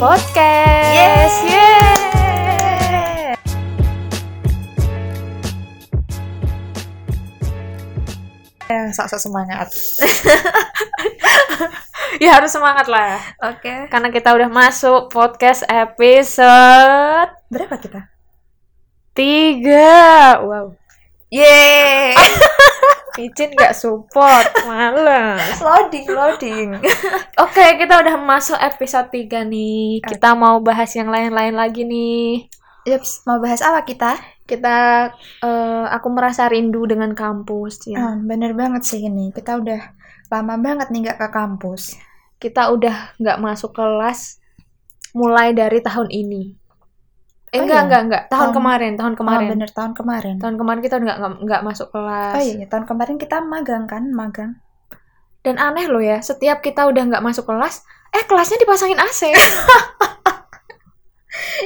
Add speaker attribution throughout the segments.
Speaker 1: Podcast.
Speaker 2: Yes, yes.
Speaker 1: Eh, sok-sok semangat. ya harus semangat lah.
Speaker 2: Oke.
Speaker 1: Karena kita udah masuk podcast episode
Speaker 2: Berapa kita?
Speaker 1: 3. Wow.
Speaker 2: Yeay.
Speaker 1: Izin nggak support, males.
Speaker 2: loading, loading.
Speaker 1: Oke, kita udah masuk episode 3 nih. Kita mau bahas yang lain-lain lagi nih.
Speaker 2: Yups, mau bahas apa kita?
Speaker 1: Kita eh, aku merasa rindu dengan kampus ya.
Speaker 2: Hmm, bener banget sih ini. Kita udah lama banget nih nggak ke kampus.
Speaker 1: Kita udah nggak masuk kelas mulai dari tahun ini. Eh,
Speaker 2: Oh
Speaker 1: enggak,
Speaker 2: iya?
Speaker 1: enggak, enggak. Tahun
Speaker 2: Tahun-
Speaker 1: kemarin, tahun kemarin.
Speaker 2: Oh, bener tahun kemarin.
Speaker 1: Tahun kemarin kita udah nggak nggak- nggak masuk kelas.
Speaker 2: Oh iya, tahun kemarin kita magang kan, magang.
Speaker 1: Dan aneh loh ya, setiap kita udah nggak masuk kelas, eh kelasnya dipasangin AC.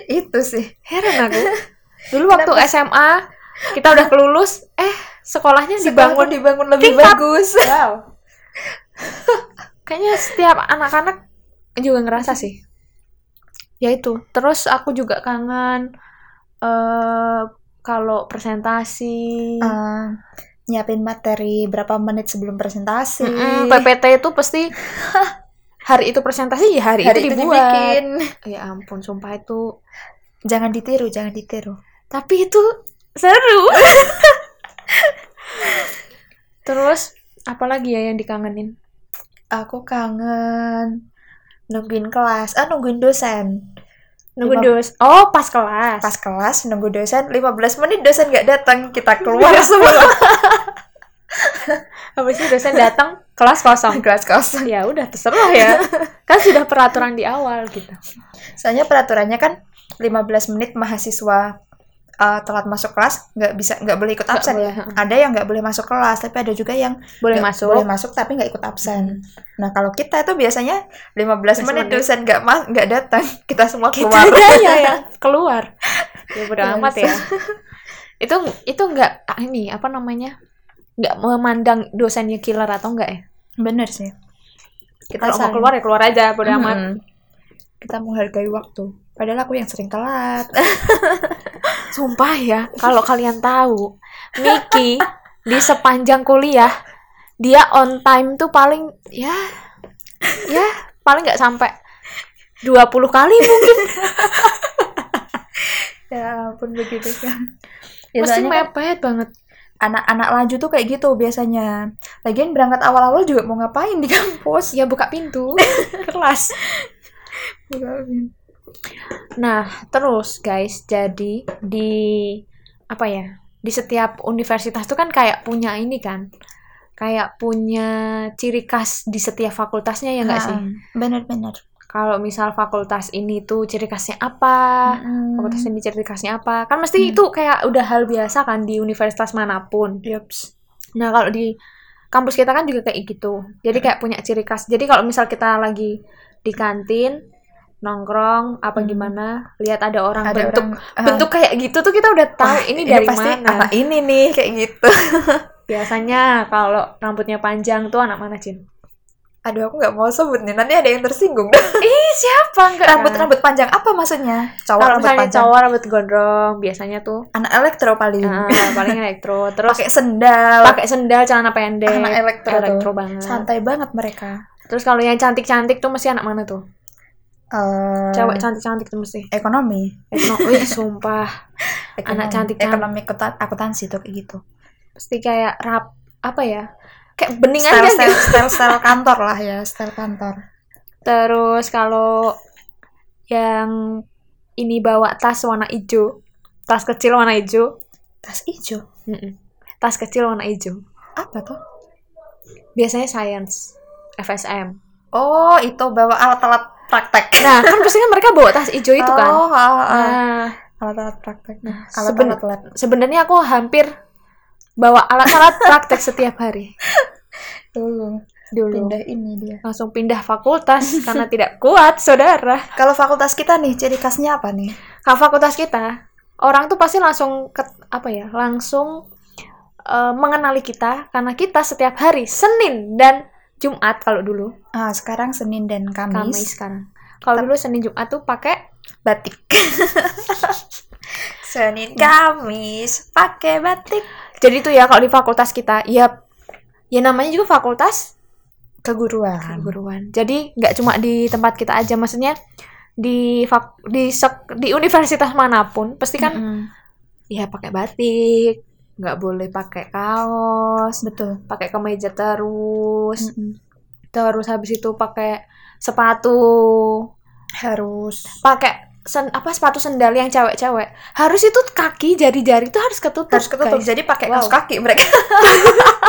Speaker 2: Itu sih.
Speaker 1: Heran aku. Dulu waktu SMA kita udah kelulus, eh sekolahnya dibangun.
Speaker 2: Dibangun dibangun lebih
Speaker 1: Tingkat.
Speaker 2: bagus. Iya.
Speaker 1: Wow. Kayaknya setiap anak-anak juga ngerasa sih. Ya itu. Terus aku juga kangen eh kalau presentasi.
Speaker 2: Eh, nyiapin materi berapa menit sebelum presentasi.
Speaker 1: Mm-mm, PPT itu pasti hari itu presentasi ya hari,
Speaker 2: Hari
Speaker 1: itu
Speaker 2: itu
Speaker 1: dibuat.
Speaker 2: dibikin.
Speaker 1: Ya ampun, sumpah itu
Speaker 2: Jangan ditiru, jangan ditiru.
Speaker 1: tapi itu seru terus apalagi ya yang dikangenin
Speaker 2: Aku kangen nungguin kelas, ah nungguin dosen.
Speaker 1: nunggu
Speaker 2: Lima-
Speaker 1: dos oh pas kelas
Speaker 2: Pas kelas nunggu dosen 15 menit dosen nggak datang, kita keluar
Speaker 1: Iya.
Speaker 2: semua
Speaker 1: habis itu dosen datang kelas kosong
Speaker 2: kelas kosong.
Speaker 1: ya udah terserah ya kan sudah peraturan di awal gitu
Speaker 2: Soalnya peraturannya kan 15 menit mahasiswa eh, telat masuk kelas nggak bisa nggak boleh ikut
Speaker 1: Nggak
Speaker 2: absen.
Speaker 1: boleh,
Speaker 2: ya. Ada yang nggak boleh masuk kelas, tapi ada juga yang
Speaker 1: boleh
Speaker 2: nggak-
Speaker 1: masuk Mm-hmm.
Speaker 2: boleh masuk tapi nggak ikut absen. Nah, kalau kita itu biasanya 15 menit
Speaker 1: menit.
Speaker 2: dosen nggak mas nggak datang, kita semua
Speaker 1: kita
Speaker 2: keluar.
Speaker 1: aja ya yang keluar ya bodo
Speaker 2: Iya,
Speaker 1: amat ya itu itu nggak ah, ini apa namanya nggak memandang dosennya killer atau enggak ya
Speaker 2: Bener sih. Mm-hmm. Kita
Speaker 1: kalau mau
Speaker 2: saling-
Speaker 1: keluar ya keluar aja bodo amat
Speaker 2: Mm-mm. Kita menghargai waktu. Padahal aku yang sering telat.
Speaker 1: Sumpah ya, kalau kalian tahu, Miki di sepanjang kuliah dia on time tuh paling ya ya paling nggak sampai 20 kali mungkin
Speaker 2: ya ampun begitu kan. Ya,
Speaker 1: mesti
Speaker 2: soalnya kan
Speaker 1: mepet banget.
Speaker 2: anak-anak laju tuh kayak gitu biasanya. Lagian berangkat awal-awal juga mau ngapain di kampus?
Speaker 1: Ya buka pintu kelas. Nah, terus guys, jadi di apa ya? Di setiap universitas tuh kan kayak punya ini kan. Kayak punya ciri khas di setiap fakultasnya ya enggak sih?
Speaker 2: Bener-bener.
Speaker 1: Kalau misal fakultas ini tuh ciri khasnya apa?
Speaker 2: Mm-mm.
Speaker 1: fakultas ini ciri khasnya apa kan mesti
Speaker 2: Hmm.
Speaker 1: itu kayak udah hal biasa kan di universitas manapun
Speaker 2: Yups.
Speaker 1: nah kalau di kampus kita kan juga kayak gitu jadi kayak punya ciri khas jadi kalau misal kita lagi di kantin nongkrong apa
Speaker 2: Hmm.
Speaker 1: gimana lihat ada orang
Speaker 2: Ada
Speaker 1: bentuk
Speaker 2: orang, ah,
Speaker 1: bentuk kayak gitu tuh kita udah tahu
Speaker 2: wah,
Speaker 1: ini dari
Speaker 2: pasti
Speaker 1: mana
Speaker 2: anak ini nih kayak gitu.
Speaker 1: biasanya kalau rambutnya panjang tuh anak mana Jin
Speaker 2: Aduh aku nggak mau sebut nih nanti ada yang tersinggung.
Speaker 1: ih siapa enggak
Speaker 2: rambut
Speaker 1: kan?
Speaker 2: rambut panjang apa maksudnya? Cowok
Speaker 1: kalau
Speaker 2: rambut
Speaker 1: misalnya
Speaker 2: panjang.
Speaker 1: cowok rambut gondrong biasanya tuh
Speaker 2: Anak elektro paling.
Speaker 1: ah, paling elektro terus
Speaker 2: Pakai sendal.
Speaker 1: pakai sendal celana pendek
Speaker 2: anak elektro, tuh.
Speaker 1: elektro banget
Speaker 2: Santai banget mereka.
Speaker 1: Terus kalau yang cantik-cantik tuh mesti anak mana tuh?
Speaker 2: Eh,
Speaker 1: Cewek cantik-cantik tuh mesti.
Speaker 2: ekonomi.
Speaker 1: Etno, wih sumpah.
Speaker 2: Ekonomi.
Speaker 1: Anak cantik kan.
Speaker 2: Ekonomi akutan- akuntansi tuh kayak gitu.
Speaker 1: Pasti kayak rap apa ya? Kayak bening
Speaker 2: Style,
Speaker 1: aja
Speaker 2: style,
Speaker 1: gitu.
Speaker 2: style, style kantor lah ya, style kantor.
Speaker 1: Terus kalau yang ini bawa tas warna hijau, tas kecil warna hijau,
Speaker 2: Tas hijau.
Speaker 1: Mm-mm. tas kecil warna hijau.
Speaker 2: Apa tuh?
Speaker 1: Biasanya science, FSM.
Speaker 2: Oh, itu bawa alat-alat praktek.
Speaker 1: Nah kan pasti kan mereka bawa tas hijau itu kan.
Speaker 2: Oh, ah, ah, ah.
Speaker 1: Nah,
Speaker 2: alat-alat praktek. Nah,
Speaker 1: seben-
Speaker 2: alat-alat lab.
Speaker 1: sebenarnya aku hampir bawa alat-alat praktek setiap hari
Speaker 2: Dulu
Speaker 1: dulu.
Speaker 2: pindah ini dia.
Speaker 1: langsung pindah fakultas karena tidak kuat saudara
Speaker 2: Kalau fakultas kita nih, ciri khasnya apa nih?
Speaker 1: kalau fakultas kita orang tuh pasti langsung ke, apa ya langsung eh, mengenali kita karena kita setiap hari Senin dan Jumat kalau dulu
Speaker 2: Ah, sekarang Senin dan
Speaker 1: Kamis
Speaker 2: Kamis.
Speaker 1: sekarang Kalau dulu Senin Jumat tuh pakai
Speaker 2: batik. Senin Kamis pakai batik.
Speaker 1: jadi tuh ya kalau di fakultas kita ya ya namanya juga fakultas
Speaker 2: Keguruan.
Speaker 1: keguruan. Jadi nggak cuma di tempat kita aja maksudnya di fak- di sek- di universitas manapun pasti kan
Speaker 2: Mm-mm.
Speaker 1: ya pakai batik, nggak boleh pakai kaos,
Speaker 2: betul. Hmm.
Speaker 1: pakai kemeja terus,
Speaker 2: Mm-mm.
Speaker 1: terus habis itu pakai sepatu,
Speaker 2: Harus
Speaker 1: pakai sen- apa sepatu sendal yang cewek-cewek. Harus itu kaki jari-jari itu harus ketutup.
Speaker 2: harus ketutup.
Speaker 1: guys.
Speaker 2: Jadi pakai
Speaker 1: Wow.
Speaker 2: kaos kaki mereka.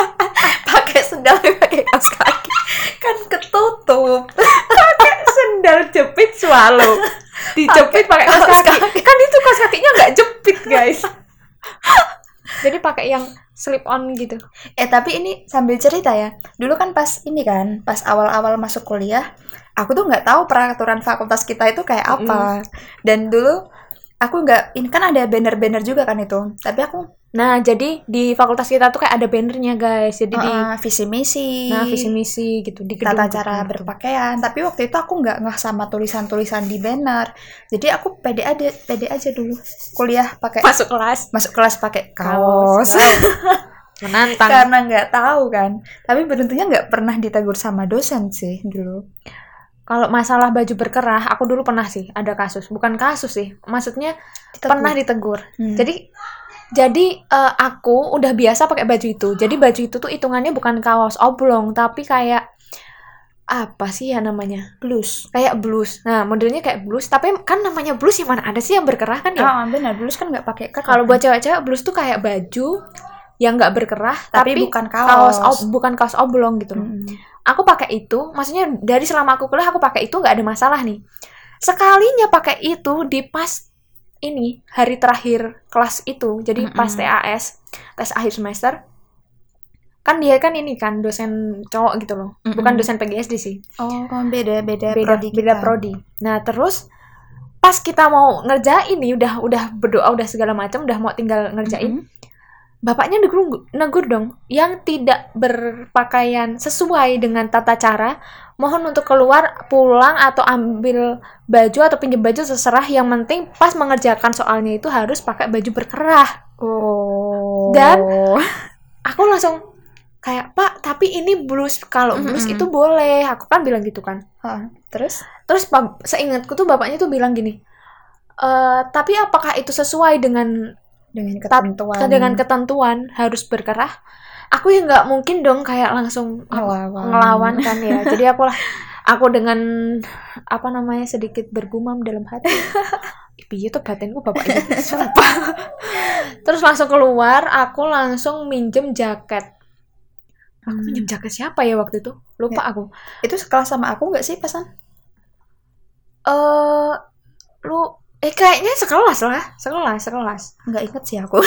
Speaker 2: pakai sendal pakai kaos kaki. Kan ketutup.
Speaker 1: sendal jepit swallow dijepit pakai kaos
Speaker 2: kaos
Speaker 1: kaki. kan itu kaos kakinya nggak jepit guys jadi pakai yang slip on gitu
Speaker 2: Eh tapi ini sambil cerita ya, dulu kan pas ini kan, pas awal-awal masuk kuliah, aku tuh nggak tahu peraturan fakultas kita itu kayak apa. Dan dulu aku nggak, ini kan ada banner-banner juga kan itu. Tapi aku
Speaker 1: nah jadi di fakultas kita tuh kayak ada bannernya guys jadi di
Speaker 2: eh, visi misi,
Speaker 1: nah visi misi gitu di gedung
Speaker 2: tata cara
Speaker 1: gitu.
Speaker 2: berpakaian. Tapi waktu itu aku nggak ngeh sama tulisan-tulisan di banner. Jadi aku pede aja, pede aja dulu kuliah pakai
Speaker 1: masuk kelas
Speaker 2: masuk kelas pakai kaos. gitu.
Speaker 1: menantang
Speaker 2: Karena nggak tahu kan. Tapi beruntuknya nggak pernah ditegur sama dosen sih dulu.
Speaker 1: kalau masalah baju berkerah aku dulu pernah sih ada kasus bukan kasus sih maksudnya
Speaker 2: Ditegur.
Speaker 1: pernah ditegur
Speaker 2: Hmm.
Speaker 1: Jadi jadi eh, aku udah biasa pakai baju itu. Jadi baju itu tuh hitungannya bukan kaos oblong tapi kayak apa sih ya namanya?
Speaker 2: Blues.
Speaker 1: Kayak blus. Nah, modelnya kayak blus, tapi kan namanya blus yang mana ada sih yang berkerah kan ya?
Speaker 2: Ah, benar. Blues kan nggak pakai kerah.
Speaker 1: Kalau buat cewek-cewek blus tuh kayak baju yang nggak berkerah
Speaker 2: tapi,
Speaker 1: tapi,
Speaker 2: bukan kaos. Hmm.
Speaker 1: kaos, ob- bukan kaos oblong gitu loh.
Speaker 2: Mm-mm.
Speaker 1: Aku pakai itu, maksudnya dari selama aku kuliah aku pakai itu nggak ada masalah nih. Sekalinya pakai itu di pas ini hari terakhir kelas itu, jadi pas
Speaker 2: Mm-mm.
Speaker 1: TAS tes akhir semester, kan dia kan ini kan dosen cowok gitu loh, bukan
Speaker 2: Mm-mm.
Speaker 1: dosen PGSD sih,
Speaker 2: Oh, beda beda,
Speaker 1: beda
Speaker 2: prodi
Speaker 1: beda
Speaker 2: kita.
Speaker 1: prodi. Nah terus pas kita mau ngerjain nih udah udah berdoa udah segala macam udah mau tinggal ngerjain
Speaker 2: Mm-mm.
Speaker 1: bapaknya negur, negur dong yang tidak berpakaian sesuai dengan tata cara mohon untuk keluar pulang atau ambil baju atau pinjam baju seserah yang penting pas mengerjakan soalnya itu harus pakai baju berkerah
Speaker 2: Oh.
Speaker 1: Dan- aku langsung kayak pak tapi ini blus kalau blus
Speaker 2: Mm-mm.
Speaker 1: itu boleh aku kan bilang gitu kan
Speaker 2: Ah, terus
Speaker 1: terus pa- seingatku tuh bapaknya tuh bilang gini "Eh, tapi apakah itu sesuai dengan
Speaker 2: dengan ketentuan.
Speaker 1: dengan ketentuan harus berkerah aku ya nggak mungkin dong kayak langsung
Speaker 2: Ngelawan.
Speaker 1: ngelawan kan ya jadi aku lah aku dengan apa namanya sedikit bergumam dalam hati piye tuh batinku bapak ini sumpah terus langsung keluar aku langsung minjem jaket aku
Speaker 2: Hmm.
Speaker 1: minjem jaket siapa ya waktu itu lupa aku
Speaker 2: Itu sekelas sama aku nggak sih pasan?
Speaker 1: eh lu eh kayaknya sekelas lah sekelas sekelas
Speaker 2: Nggak inget sih aku.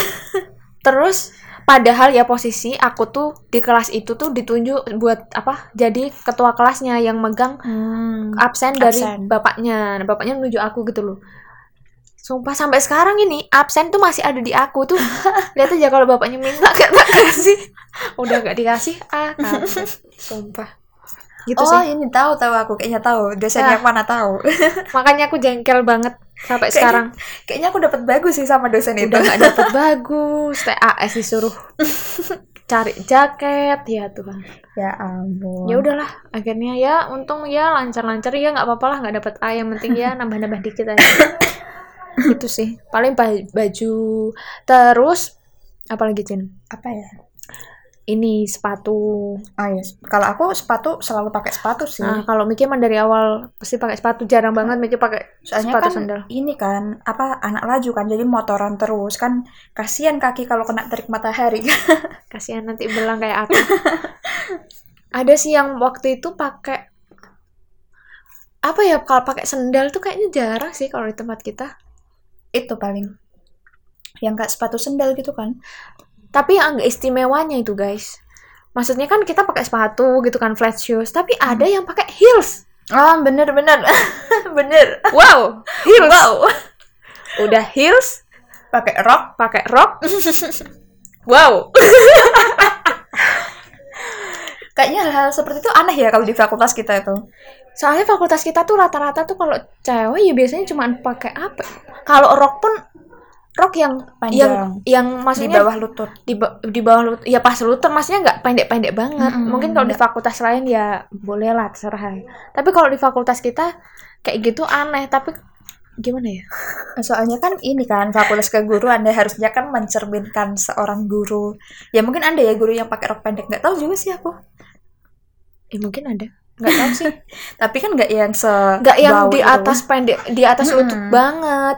Speaker 1: Terus padahal ya posisi aku tuh di kelas itu tuh ditunjuk buat apa? Jadi ketua kelasnya yang megang
Speaker 2: Hmm.
Speaker 1: absen dari
Speaker 2: Absen.
Speaker 1: bapaknya. Nah, bapaknya menuju aku gitu loh. Sumpah sampai sekarang ini absen tuh masih ada di aku tuh. Lihat aja kalau bapaknya minta gak tak kasih. Udah gak dikasih. Ah, kampret. sumpah. Gitu
Speaker 2: oh,
Speaker 1: sih.
Speaker 2: ini tahu tahu aku kayaknya tahu. Dosen
Speaker 1: Ah.
Speaker 2: yang mana tahu.
Speaker 1: Makanya aku jengkel banget sampai
Speaker 2: Kayaknya
Speaker 1: sekarang.
Speaker 2: kayaknya aku dapat bagus sih sama dosen itu.
Speaker 1: udah nggak dapet bagus. TAS disuruh cari jaket ya Tuhan.
Speaker 2: Ya ampun.
Speaker 1: ya udahlah akhirnya ya untung ya lancar-lancar ya nggak apa-apa lah nggak dapet A yang penting ya nambah-nambah dikit aja gitu sih paling ba- baju terus apalagi Cin
Speaker 2: Apa ya?
Speaker 1: ini sepatu
Speaker 2: Oh ya, kalau aku sepatu selalu pakai sepatu sih.
Speaker 1: nah kalau Miki emang dari awal pasti pakai sepatu jarang banget Miki pakai
Speaker 2: Soalnya
Speaker 1: sepatu
Speaker 2: kan
Speaker 1: sandal
Speaker 2: ini kan apa anak laju kan jadi motoran terus kan kasihan kaki kalau kena terik matahari kan.
Speaker 1: kasihan nanti belang kayak aku ada sih yang waktu itu pakai apa ya kalau pakai sendal tuh kayaknya jarang sih kalau di tempat kita
Speaker 2: itu paling yang kayak sepatu sendal gitu kan.
Speaker 1: Tapi yang agak istimewanya itu guys, maksudnya kan kita pakai sepatu gitu kan flat shoes, tapi ada yang pakai heels.
Speaker 2: Ah bener bener bener.
Speaker 1: Wow, heels. Udah heels,
Speaker 2: Pakai rok
Speaker 1: pakai rok. wow.
Speaker 2: kayaknya hal-hal seperti itu aneh ya kalau di fakultas kita itu
Speaker 1: Soalnya fakultas kita tuh rata-rata tuh kalau cewek ya biasanya cuma pakai apa? Kalau rok pun rok yang
Speaker 2: Panjang.
Speaker 1: yang yang
Speaker 2: di
Speaker 1: maksudnya
Speaker 2: bawah lutut
Speaker 1: di, ba- di bawah lut- ya pas lutut maksudnya nggak pendek-pendek banget.
Speaker 2: Mm-mm,
Speaker 1: Mungkin kalau di fakultas lain ya boleh lah terserah. Tapi kalau di fakultas kita kayak gitu aneh. Tapi gimana ya?
Speaker 2: soalnya kan ini kan fakultas keguruan ya harusnya kan mencerminkan seorang guru ya mungkin ada ya guru yang pakai rok pendek nggak tahu juga sih aku
Speaker 1: Eh mungkin ada. Nggak tahu sih.
Speaker 2: tapi kan nggak yang se gitu.
Speaker 1: Nggak yang
Speaker 2: bau
Speaker 1: di
Speaker 2: itu.
Speaker 1: atas pendek di atas
Speaker 2: Mm-mm.
Speaker 1: lutut banget.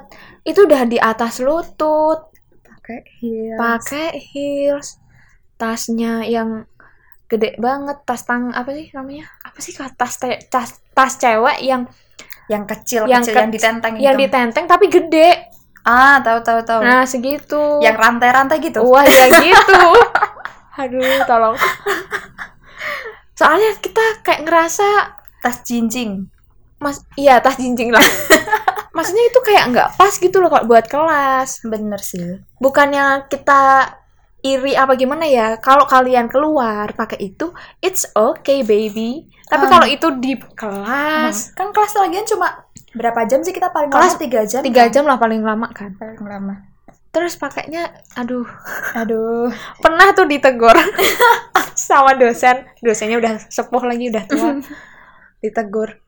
Speaker 1: Itu udah di atas lutut.
Speaker 2: pakai heels.
Speaker 1: pakai heels tasnya yang gede banget tas tang apa sih namanya apa sih kalau tas te- tas tas cewek yang
Speaker 2: yang kecil
Speaker 1: Yang
Speaker 2: kecil
Speaker 1: ke-
Speaker 2: yang ditenteng
Speaker 1: yang
Speaker 2: itu
Speaker 1: ditenteng tapi gede
Speaker 2: ah tahu tahu tahu
Speaker 1: nah segitu
Speaker 2: yang rantai-rantai gitu
Speaker 1: wah ya gitu aduh tolong soalnya kita kayak ngerasa
Speaker 2: tas jinjing
Speaker 1: mas iya tas jinjing lah maksudnya itu kayak nggak pas gitu loh kalau buat kelas
Speaker 2: bener sih
Speaker 1: bukannya kita iri apa gimana ya kalau kalian keluar pakai itu it's okay baby tapi
Speaker 2: Hmm.
Speaker 1: kalau itu di kelas
Speaker 2: kan kelas lagian cuma berapa jam sih kita paling
Speaker 1: Kelas
Speaker 2: lama tiga jam
Speaker 1: tiga jam lah paling lama kan
Speaker 2: paling lama
Speaker 1: terus pakainya aduh
Speaker 2: aduh
Speaker 1: pernah tuh ditegur sama dosen dosennya udah sepuh lagi udah
Speaker 2: Hmm.
Speaker 1: tua ditegur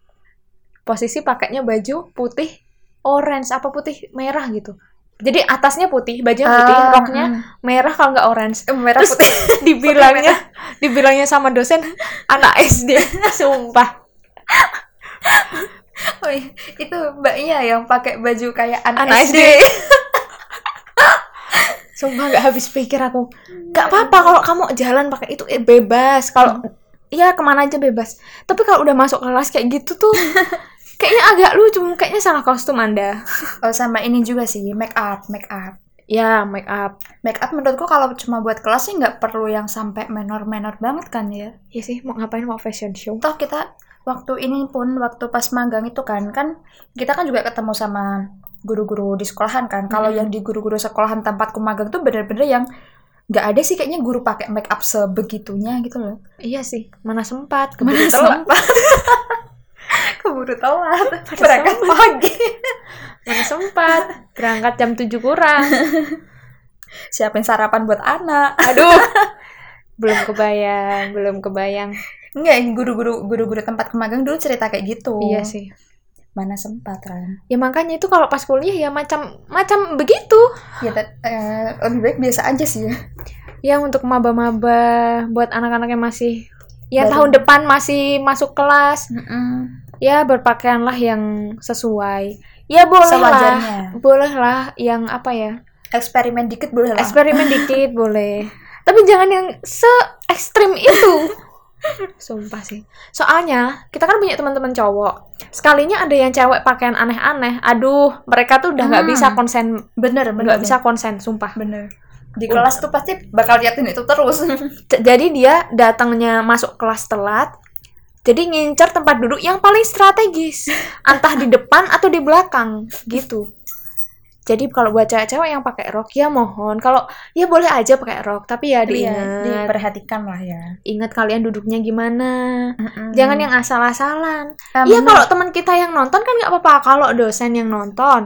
Speaker 1: posisi pakainya baju putih orange apa putih merah gitu jadi atasnya putih bajunya putih
Speaker 2: Ah,
Speaker 1: Ya, roknya merah kalau nggak orange
Speaker 2: mm. merah
Speaker 1: Terus-
Speaker 2: putih
Speaker 1: dibilangnya dibilangnya sama dosen anak SD sumpah
Speaker 2: Oh iya, itu mbaknya yang pakai baju kayak anak,
Speaker 1: Anak
Speaker 2: SD.
Speaker 1: sumpah nggak habis pikir aku nggak apa-apa kalau kamu jalan pakai itu eh, bebas kalau ya kemana aja bebas tapi kalau udah masuk kelas kayak gitu tuh kayaknya agak lucu kayaknya salah kostum anda
Speaker 2: Oh sama ini juga sih make up make up
Speaker 1: ya make up
Speaker 2: make up menurutku kalau cuma buat kelas sih nggak perlu yang sampai menor menor banget kan ya
Speaker 1: ya sih mau ngapain mau fashion show
Speaker 2: toh kita waktu ini pun waktu pas magang itu kan kan kita kan juga ketemu sama guru-guru di sekolahan kan kalau
Speaker 1: Mm-mm.
Speaker 2: yang di guru-guru sekolahan tempatku magang tuh bener-bener yang nggak ada sih kayaknya guru pakai make up sebegitunya gitu loh
Speaker 1: iya sih mana sempat
Speaker 2: Keburu
Speaker 1: keburu
Speaker 2: telat.
Speaker 1: telat
Speaker 2: keburu telat
Speaker 1: Pada
Speaker 2: berangkat
Speaker 1: sempat.
Speaker 2: pagi
Speaker 1: mana sempat berangkat jam 7 kurang
Speaker 2: siapin sarapan buat anak
Speaker 1: aduh belum kebayang belum kebayang
Speaker 2: Enggak, yang guru-guru guru-guru tempat kemagang dulu cerita kayak gitu.
Speaker 1: iya sih
Speaker 2: Mana sempat kan?
Speaker 1: ya makanya itu kalau pas kuliah ya macam macam begitu
Speaker 2: Ya tet- eh, lebih baik biasa aja sih ya.
Speaker 1: ya untuk maba-maba buat anak-anak yang masih ya
Speaker 2: Baru.
Speaker 1: tahun depan masih masuk kelas ya berpakaianlah yang sesuai ya bolehlah
Speaker 2: Sewajarnya.
Speaker 1: bolehlah yang apa ya
Speaker 2: Eksperimen dikit boleh lah.
Speaker 1: eksperimen dikit boleh tapi jangan yang se ekstrim itu sumpah sih soalnya kita kan punya teman-teman cowok sekalinya ada yang cewek pakaian aneh-aneh aduh mereka tuh udah nggak
Speaker 2: Hmm.
Speaker 1: bisa konsen
Speaker 2: bener, bener.
Speaker 1: nggak bisa konsen sumpah
Speaker 2: Bener. Di kelas tuh pasti bakal liatin itu terus.
Speaker 1: C- jadi dia datangnya masuk kelas telat jadi ngincer tempat duduk yang paling strategis entah di depan atau di belakang gitu jadi kalau buat cewek-cewek yang pakai rok ya mohon kalau ya boleh aja pakai rok tapi ya
Speaker 2: Iya,
Speaker 1: diingat
Speaker 2: diperhatikan lah ya.
Speaker 1: ingat kalian duduknya gimana jangan yang asal-asalan
Speaker 2: Eh,
Speaker 1: iya
Speaker 2: bener.
Speaker 1: kalau teman kita yang nonton kan nggak apa-apa kalau dosen yang nonton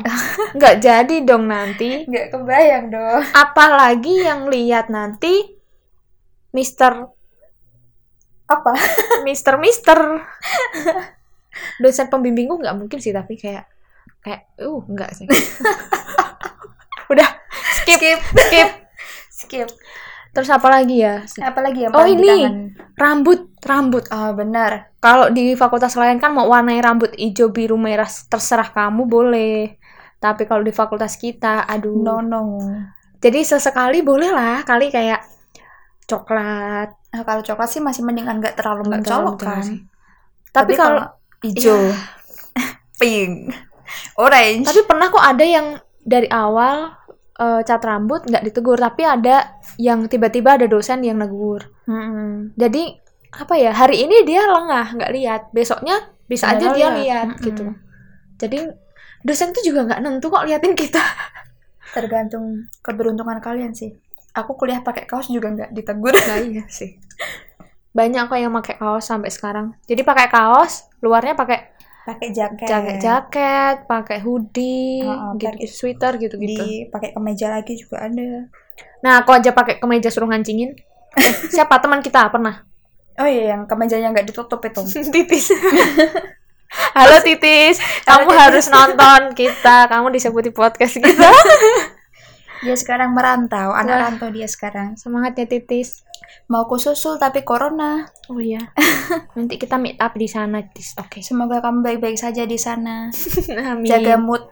Speaker 1: nggak jadi dong nanti
Speaker 2: nggak kebayang dong.
Speaker 1: apalagi yang lihat nanti Mister
Speaker 2: Apa?
Speaker 1: Mister Mister dosen pembimbingku nggak mungkin sih tapi kayak kayak uh nggak sih udah skip
Speaker 2: Skip.
Speaker 1: skip
Speaker 2: Skip.
Speaker 1: terus apa lagi ya
Speaker 2: Apalagi yang
Speaker 1: Oh,
Speaker 2: paling
Speaker 1: ini.
Speaker 2: dikangenin?
Speaker 1: rambut rambut
Speaker 2: Oh, benar.
Speaker 1: kalau di fakultas lain kan mau warnai rambut hijau biru merah terserah kamu boleh tapi kalau di fakultas kita aduh
Speaker 2: No, no.
Speaker 1: jadi sesekali boleh lah kali kayak coklat
Speaker 2: Nah, kalau coklat sih masih mendingan nggak terlalu
Speaker 1: nggak terlalu
Speaker 2: mencolok
Speaker 1: mencolok
Speaker 2: kan.
Speaker 1: sih. tapi kalau
Speaker 2: hijau,
Speaker 1: Iya.
Speaker 2: pink, orange,
Speaker 1: Tapi pernah kok ada yang dari awal eh, cat rambut nggak ditegur, tapi ada yang tiba-tiba ada dosen yang negur.
Speaker 2: Mm-mm.
Speaker 1: Jadi apa ya hari ini dia lengah nggak lihat, besoknya bisa aja
Speaker 2: Padahal
Speaker 1: dia
Speaker 2: ya,
Speaker 1: lihat
Speaker 2: mm-mm.
Speaker 1: gitu. Jadi dosen tuh juga nggak nentu kok liatin kita.
Speaker 2: tergantung keberuntungan kalian sih. Aku kuliah pakai kaos juga nggak ditegur.
Speaker 1: Nah iya sih. banyak kok yang pakai kaos sampai sekarang jadi pakai kaos luarnya pakai
Speaker 2: pakai jaket
Speaker 1: jaket jaket pakai hoodie
Speaker 2: Oh, oh,
Speaker 1: gitu
Speaker 2: pakai-
Speaker 1: sweater gitu gitu
Speaker 2: di pakai kemeja lagi juga ada
Speaker 1: nah aku aja pakai kemeja suruh ngancingin eh, siapa teman kita pernah
Speaker 2: oh iya yang kemejanya nggak ditutup itu
Speaker 1: titis halo titis kamu
Speaker 2: Titis.
Speaker 1: harus nonton kita kamu disebut di podcast kita
Speaker 2: dia sekarang merantau anak
Speaker 1: Wah.
Speaker 2: rantau dia sekarang
Speaker 1: semangat ya titis
Speaker 2: mau ku susul tapi corona
Speaker 1: oh iya nanti kita meet up di sana tis oke
Speaker 2: semoga kamu baik-baik saja di sana
Speaker 1: Amin.
Speaker 2: jaga mood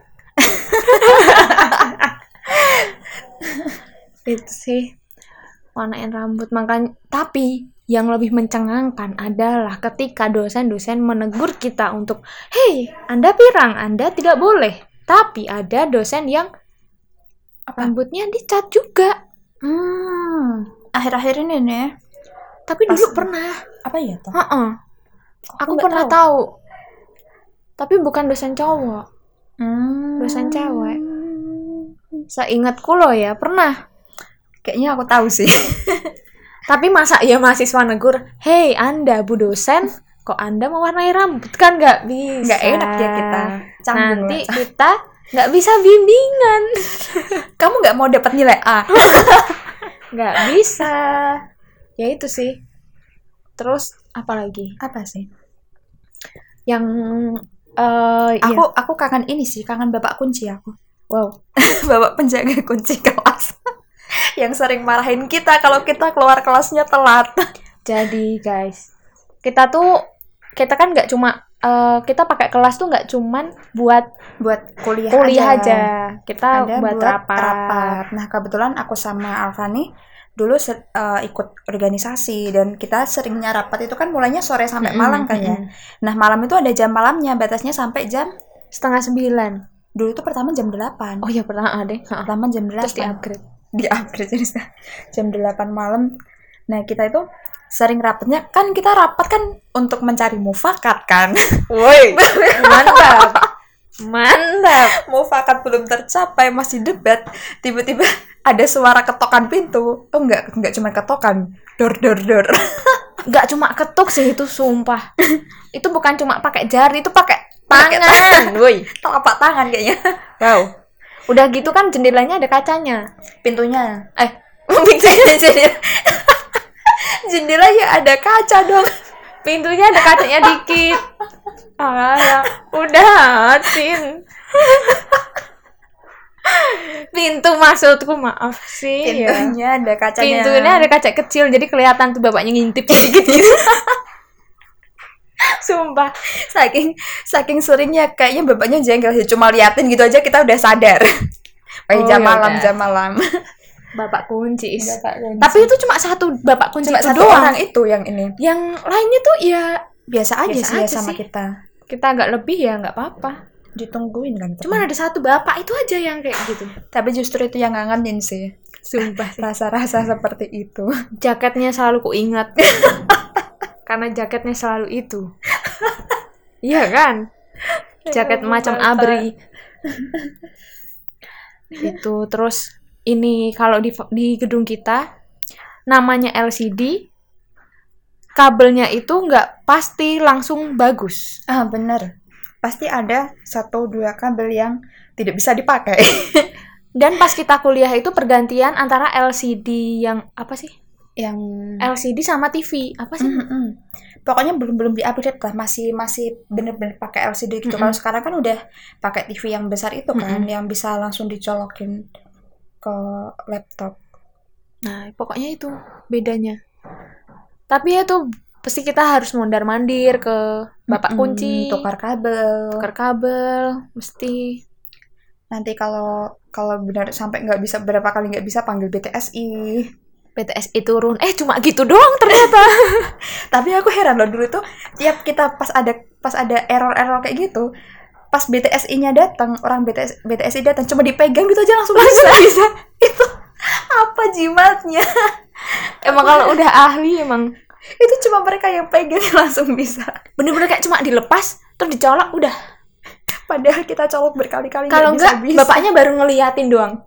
Speaker 1: itu sih warnain rambut makanya tapi yang lebih mencengangkan adalah ketika dosen-dosen menegur kita untuk hei anda pirang anda tidak boleh tapi ada dosen yang
Speaker 2: Apa?
Speaker 1: rambutnya dicat juga
Speaker 2: hmm akhir-akhir ini nih
Speaker 1: tapi
Speaker 2: Pas-
Speaker 1: dulu pernah
Speaker 2: apa ya toh
Speaker 1: Heeh. aku
Speaker 2: nggak
Speaker 1: pernah tahu. tapi bukan dosen cowok
Speaker 2: hmm.
Speaker 1: Dosen cewek. seingatku loh ya pernah
Speaker 2: kayaknya aku tahu sih
Speaker 1: tapi masa ya mahasiswa negur hei anda bu dosen kok anda mewarnai rambut kan nggak bisa
Speaker 2: nggak enak ya kita Canggung
Speaker 1: nanti
Speaker 2: lah.
Speaker 1: kita nggak bisa bimbingan
Speaker 2: kamu nggak mau dapat nilai A
Speaker 1: nggak bisa ya itu sih terus apalagi
Speaker 2: apa sih
Speaker 1: yang eh
Speaker 2: aku
Speaker 1: iya.
Speaker 2: aku kangen ini sih kangen bapak kunci aku
Speaker 1: wow
Speaker 2: bapak penjaga kunci kelas yang sering marahin kita kalau kita keluar kelasnya telat
Speaker 1: jadi guys kita tuh kita kan nggak cuma eh, kita pakai kelas tuh nggak cuman buat
Speaker 2: buat kuliah,
Speaker 1: kuliah aja, kita
Speaker 2: Ya, Ada
Speaker 1: buat, rapat.
Speaker 2: Nah kebetulan aku sama Alfani dulu ser- eh, ikut organisasi dan kita seringnya rapat itu kan mulainya sore sampai
Speaker 1: Mm-mm,
Speaker 2: malam kan ya.
Speaker 1: mm-mm.
Speaker 2: Nah malam itu ada jam malamnya batasnya sampai jam
Speaker 1: setengah sembilan
Speaker 2: dulu tuh pertama jam 8
Speaker 1: oh ya pernah ada Ha-ha.
Speaker 2: pertama jam 8
Speaker 1: terus di upgrade
Speaker 2: di upgrade jadi sa- jam 8 malam. Nah, kita itu sering rapatnya kan kita rapat kan untuk mencari mufakat kan.
Speaker 1: woi mantap mantap
Speaker 2: mufakat belum tercapai, masih debat. Tiba-tiba ada suara ketokan pintu. Oh enggak, enggak cuma ketokan. Dor dor dor.
Speaker 1: nggak cuma ketuk sih itu sumpah itu bukan cuma pakai jari itu pakai
Speaker 2: Pakai
Speaker 1: tangan woi
Speaker 2: Telapak tangan kayaknya.
Speaker 1: wow udah gitu kan jendelanya ada kacanya
Speaker 2: Pintunya.
Speaker 1: eh
Speaker 2: Jendela. Jendela ya ada kaca dong.
Speaker 1: pintunya ada kacanya dikit ah ya udah Tin pintu maksudku maaf sih ya
Speaker 2: Pintunya ada kacanya.
Speaker 1: pintunya ada kaca kecil jadi kelihatan tuh bapaknya ngintip sedikit gitu sumpah
Speaker 2: saking saking seringnya kayaknya bapaknya jengkel sih cuma liatin gitu aja kita udah sadar Wah,
Speaker 1: Oh,
Speaker 2: jam
Speaker 1: ya
Speaker 2: malam
Speaker 1: udah.
Speaker 2: jam malam
Speaker 1: bapak kunci is.
Speaker 2: tapi
Speaker 1: tapi itu cuma satu bapak kunci
Speaker 2: cuma
Speaker 1: itu
Speaker 2: satu
Speaker 1: doang
Speaker 2: orang itu yang ini
Speaker 1: yang lainnya tuh ya
Speaker 2: biasa aja
Speaker 1: Biasa
Speaker 2: sih ya
Speaker 1: aja
Speaker 2: sama
Speaker 1: sih.
Speaker 2: kita
Speaker 1: kita agak lebih ya nggak apa-apa
Speaker 2: ditungguin kan
Speaker 1: cuman ada satu bapak itu aja yang kayak gitu
Speaker 2: tapi justru itu yang ngangenin sih
Speaker 1: sumpah
Speaker 2: rasa-rasa seperti itu
Speaker 1: jaketnya selalu kuingat karena jaketnya selalu itu iya kan jaket
Speaker 2: Ya ampun,
Speaker 1: macam
Speaker 2: Bapak.
Speaker 1: abri itu terus ini kalau di di gedung kita namanya LCD kabelnya itu nggak pasti langsung bagus
Speaker 2: ah bener pasti ada satu dua kabel yang tidak bisa dipakai
Speaker 1: dan pas kita kuliah itu pergantian antara LCD yang apa sih
Speaker 2: yang
Speaker 1: LCD sama TV apa sih
Speaker 2: Mm-mm. Pokoknya belum belum diupdate lah, masih masih bener-bener pakai LCD gitu.
Speaker 1: Mm-mm.
Speaker 2: Kalau sekarang kan udah pakai TV yang besar itu kan, yang bisa langsung dicolokin ke laptop.
Speaker 1: Nah, pokoknya itu bedanya. Tapi ya tuh pasti kita harus mondar mandir ke bapak
Speaker 2: Mm-mm,
Speaker 1: kunci,
Speaker 2: Hmm, tukar kabel.
Speaker 1: tukar kabel, mesti.
Speaker 2: Nanti kalau kalau benar sampai nggak bisa berapa kali nggak bisa panggil BTSI.
Speaker 1: PTSI turun. Eh, cuma gitu doang ternyata.
Speaker 2: Tapi aku heran loh dulu tuh tiap kita pas ada pas ada error-error kayak gitu, pas BTSI-nya datang, orang BTS BTSI datang cuma dipegang gitu aja langsung bisa.
Speaker 1: bisa.
Speaker 2: itu apa jimatnya?
Speaker 1: Emang kalau udah ahli emang
Speaker 2: itu cuma mereka yang pegang langsung bisa
Speaker 1: bener-bener kayak cuma dilepas terus dicolok udah.
Speaker 2: padahal kita colok berkali-kali
Speaker 1: Kalau enggak
Speaker 2: bisa
Speaker 1: bapaknya baru ngeliatin doang.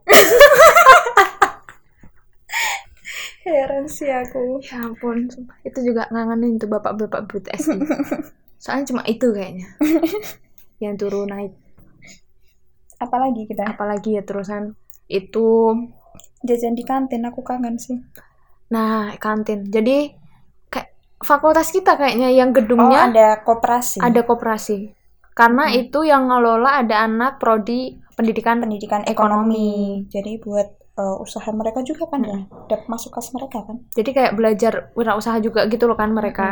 Speaker 2: heran Males ya aku.
Speaker 1: Ya ampun, sumpah. itu juga ngangenin tuh bapak-bapak but SD. Soalnya cuma itu kayaknya. yang turun naik.
Speaker 2: Apalagi kita
Speaker 1: Apalagi ya terusan itu
Speaker 2: jajan di kantin aku kangen sih.
Speaker 1: nah kantin. Jadi kayak fakultas kita kayaknya yang
Speaker 2: Oh,
Speaker 1: gedungnya
Speaker 2: ada koperasi.
Speaker 1: ada koperasi. Karena
Speaker 2: Mm-mm.
Speaker 1: itu yang ngelola ada anak prodi pendidikan
Speaker 2: pendidikan ekonomi. Jadi buat eh, usaha mereka juga kan ya. Dapat masuk kelas mereka kan.
Speaker 1: jadi kayak belajar wirausaha juga gitu loh kan mereka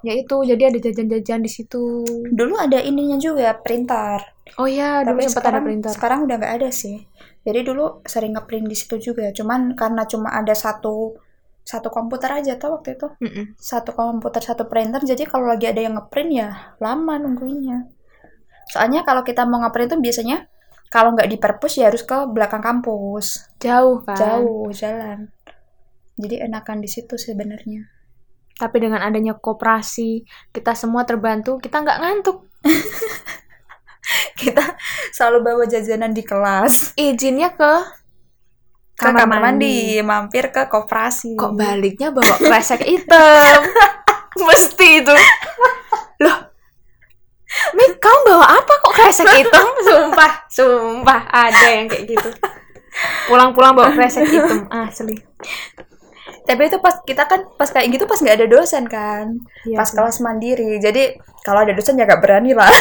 Speaker 1: ya itu jadi ada jajan-jajan di situ
Speaker 2: Dulu ada ininya juga printer.
Speaker 1: oh ya dulu sempat
Speaker 2: Tapi
Speaker 1: ada
Speaker 2: sekarang,
Speaker 1: printer
Speaker 2: sekarang udah nggak ada sih. Jadi dulu sering ngeprint di situ juga. Cuman karena cuma ada satu satu komputer aja tau waktu itu.
Speaker 1: Mm-mm.
Speaker 2: Satu komputer satu printer. Jadi kalau lagi ada yang ngeprint ya lama nungguinnya. Soalnya kalau kita mau ngeprint tuh biasanya kalau nggak di perpus ya harus ke belakang kampus.
Speaker 1: jauh kan
Speaker 2: Jauh jalan. Jadi enakan di situ sebenarnya.
Speaker 1: tapi dengan adanya koperasi kita semua terbantu kita nggak ngantuk
Speaker 2: kita selalu bawa jajanan di kelas
Speaker 1: izinnya ke
Speaker 2: ke kamar, mandi. mampir ke koperasi
Speaker 1: kok baliknya bawa kresek hitam mesti itu loh Mik, kamu bawa apa kok kresek hitam? Sumpah, sumpah ada yang kayak gitu. Pulang-pulang bawa kresek hitam, asli.
Speaker 2: tapi itu pas kita kan pas kayak gitu pas nggak ada dosen kan
Speaker 1: Iya
Speaker 2: pas
Speaker 1: sih.
Speaker 2: kelas mandiri jadi kalau ada dosen ya gak berani lah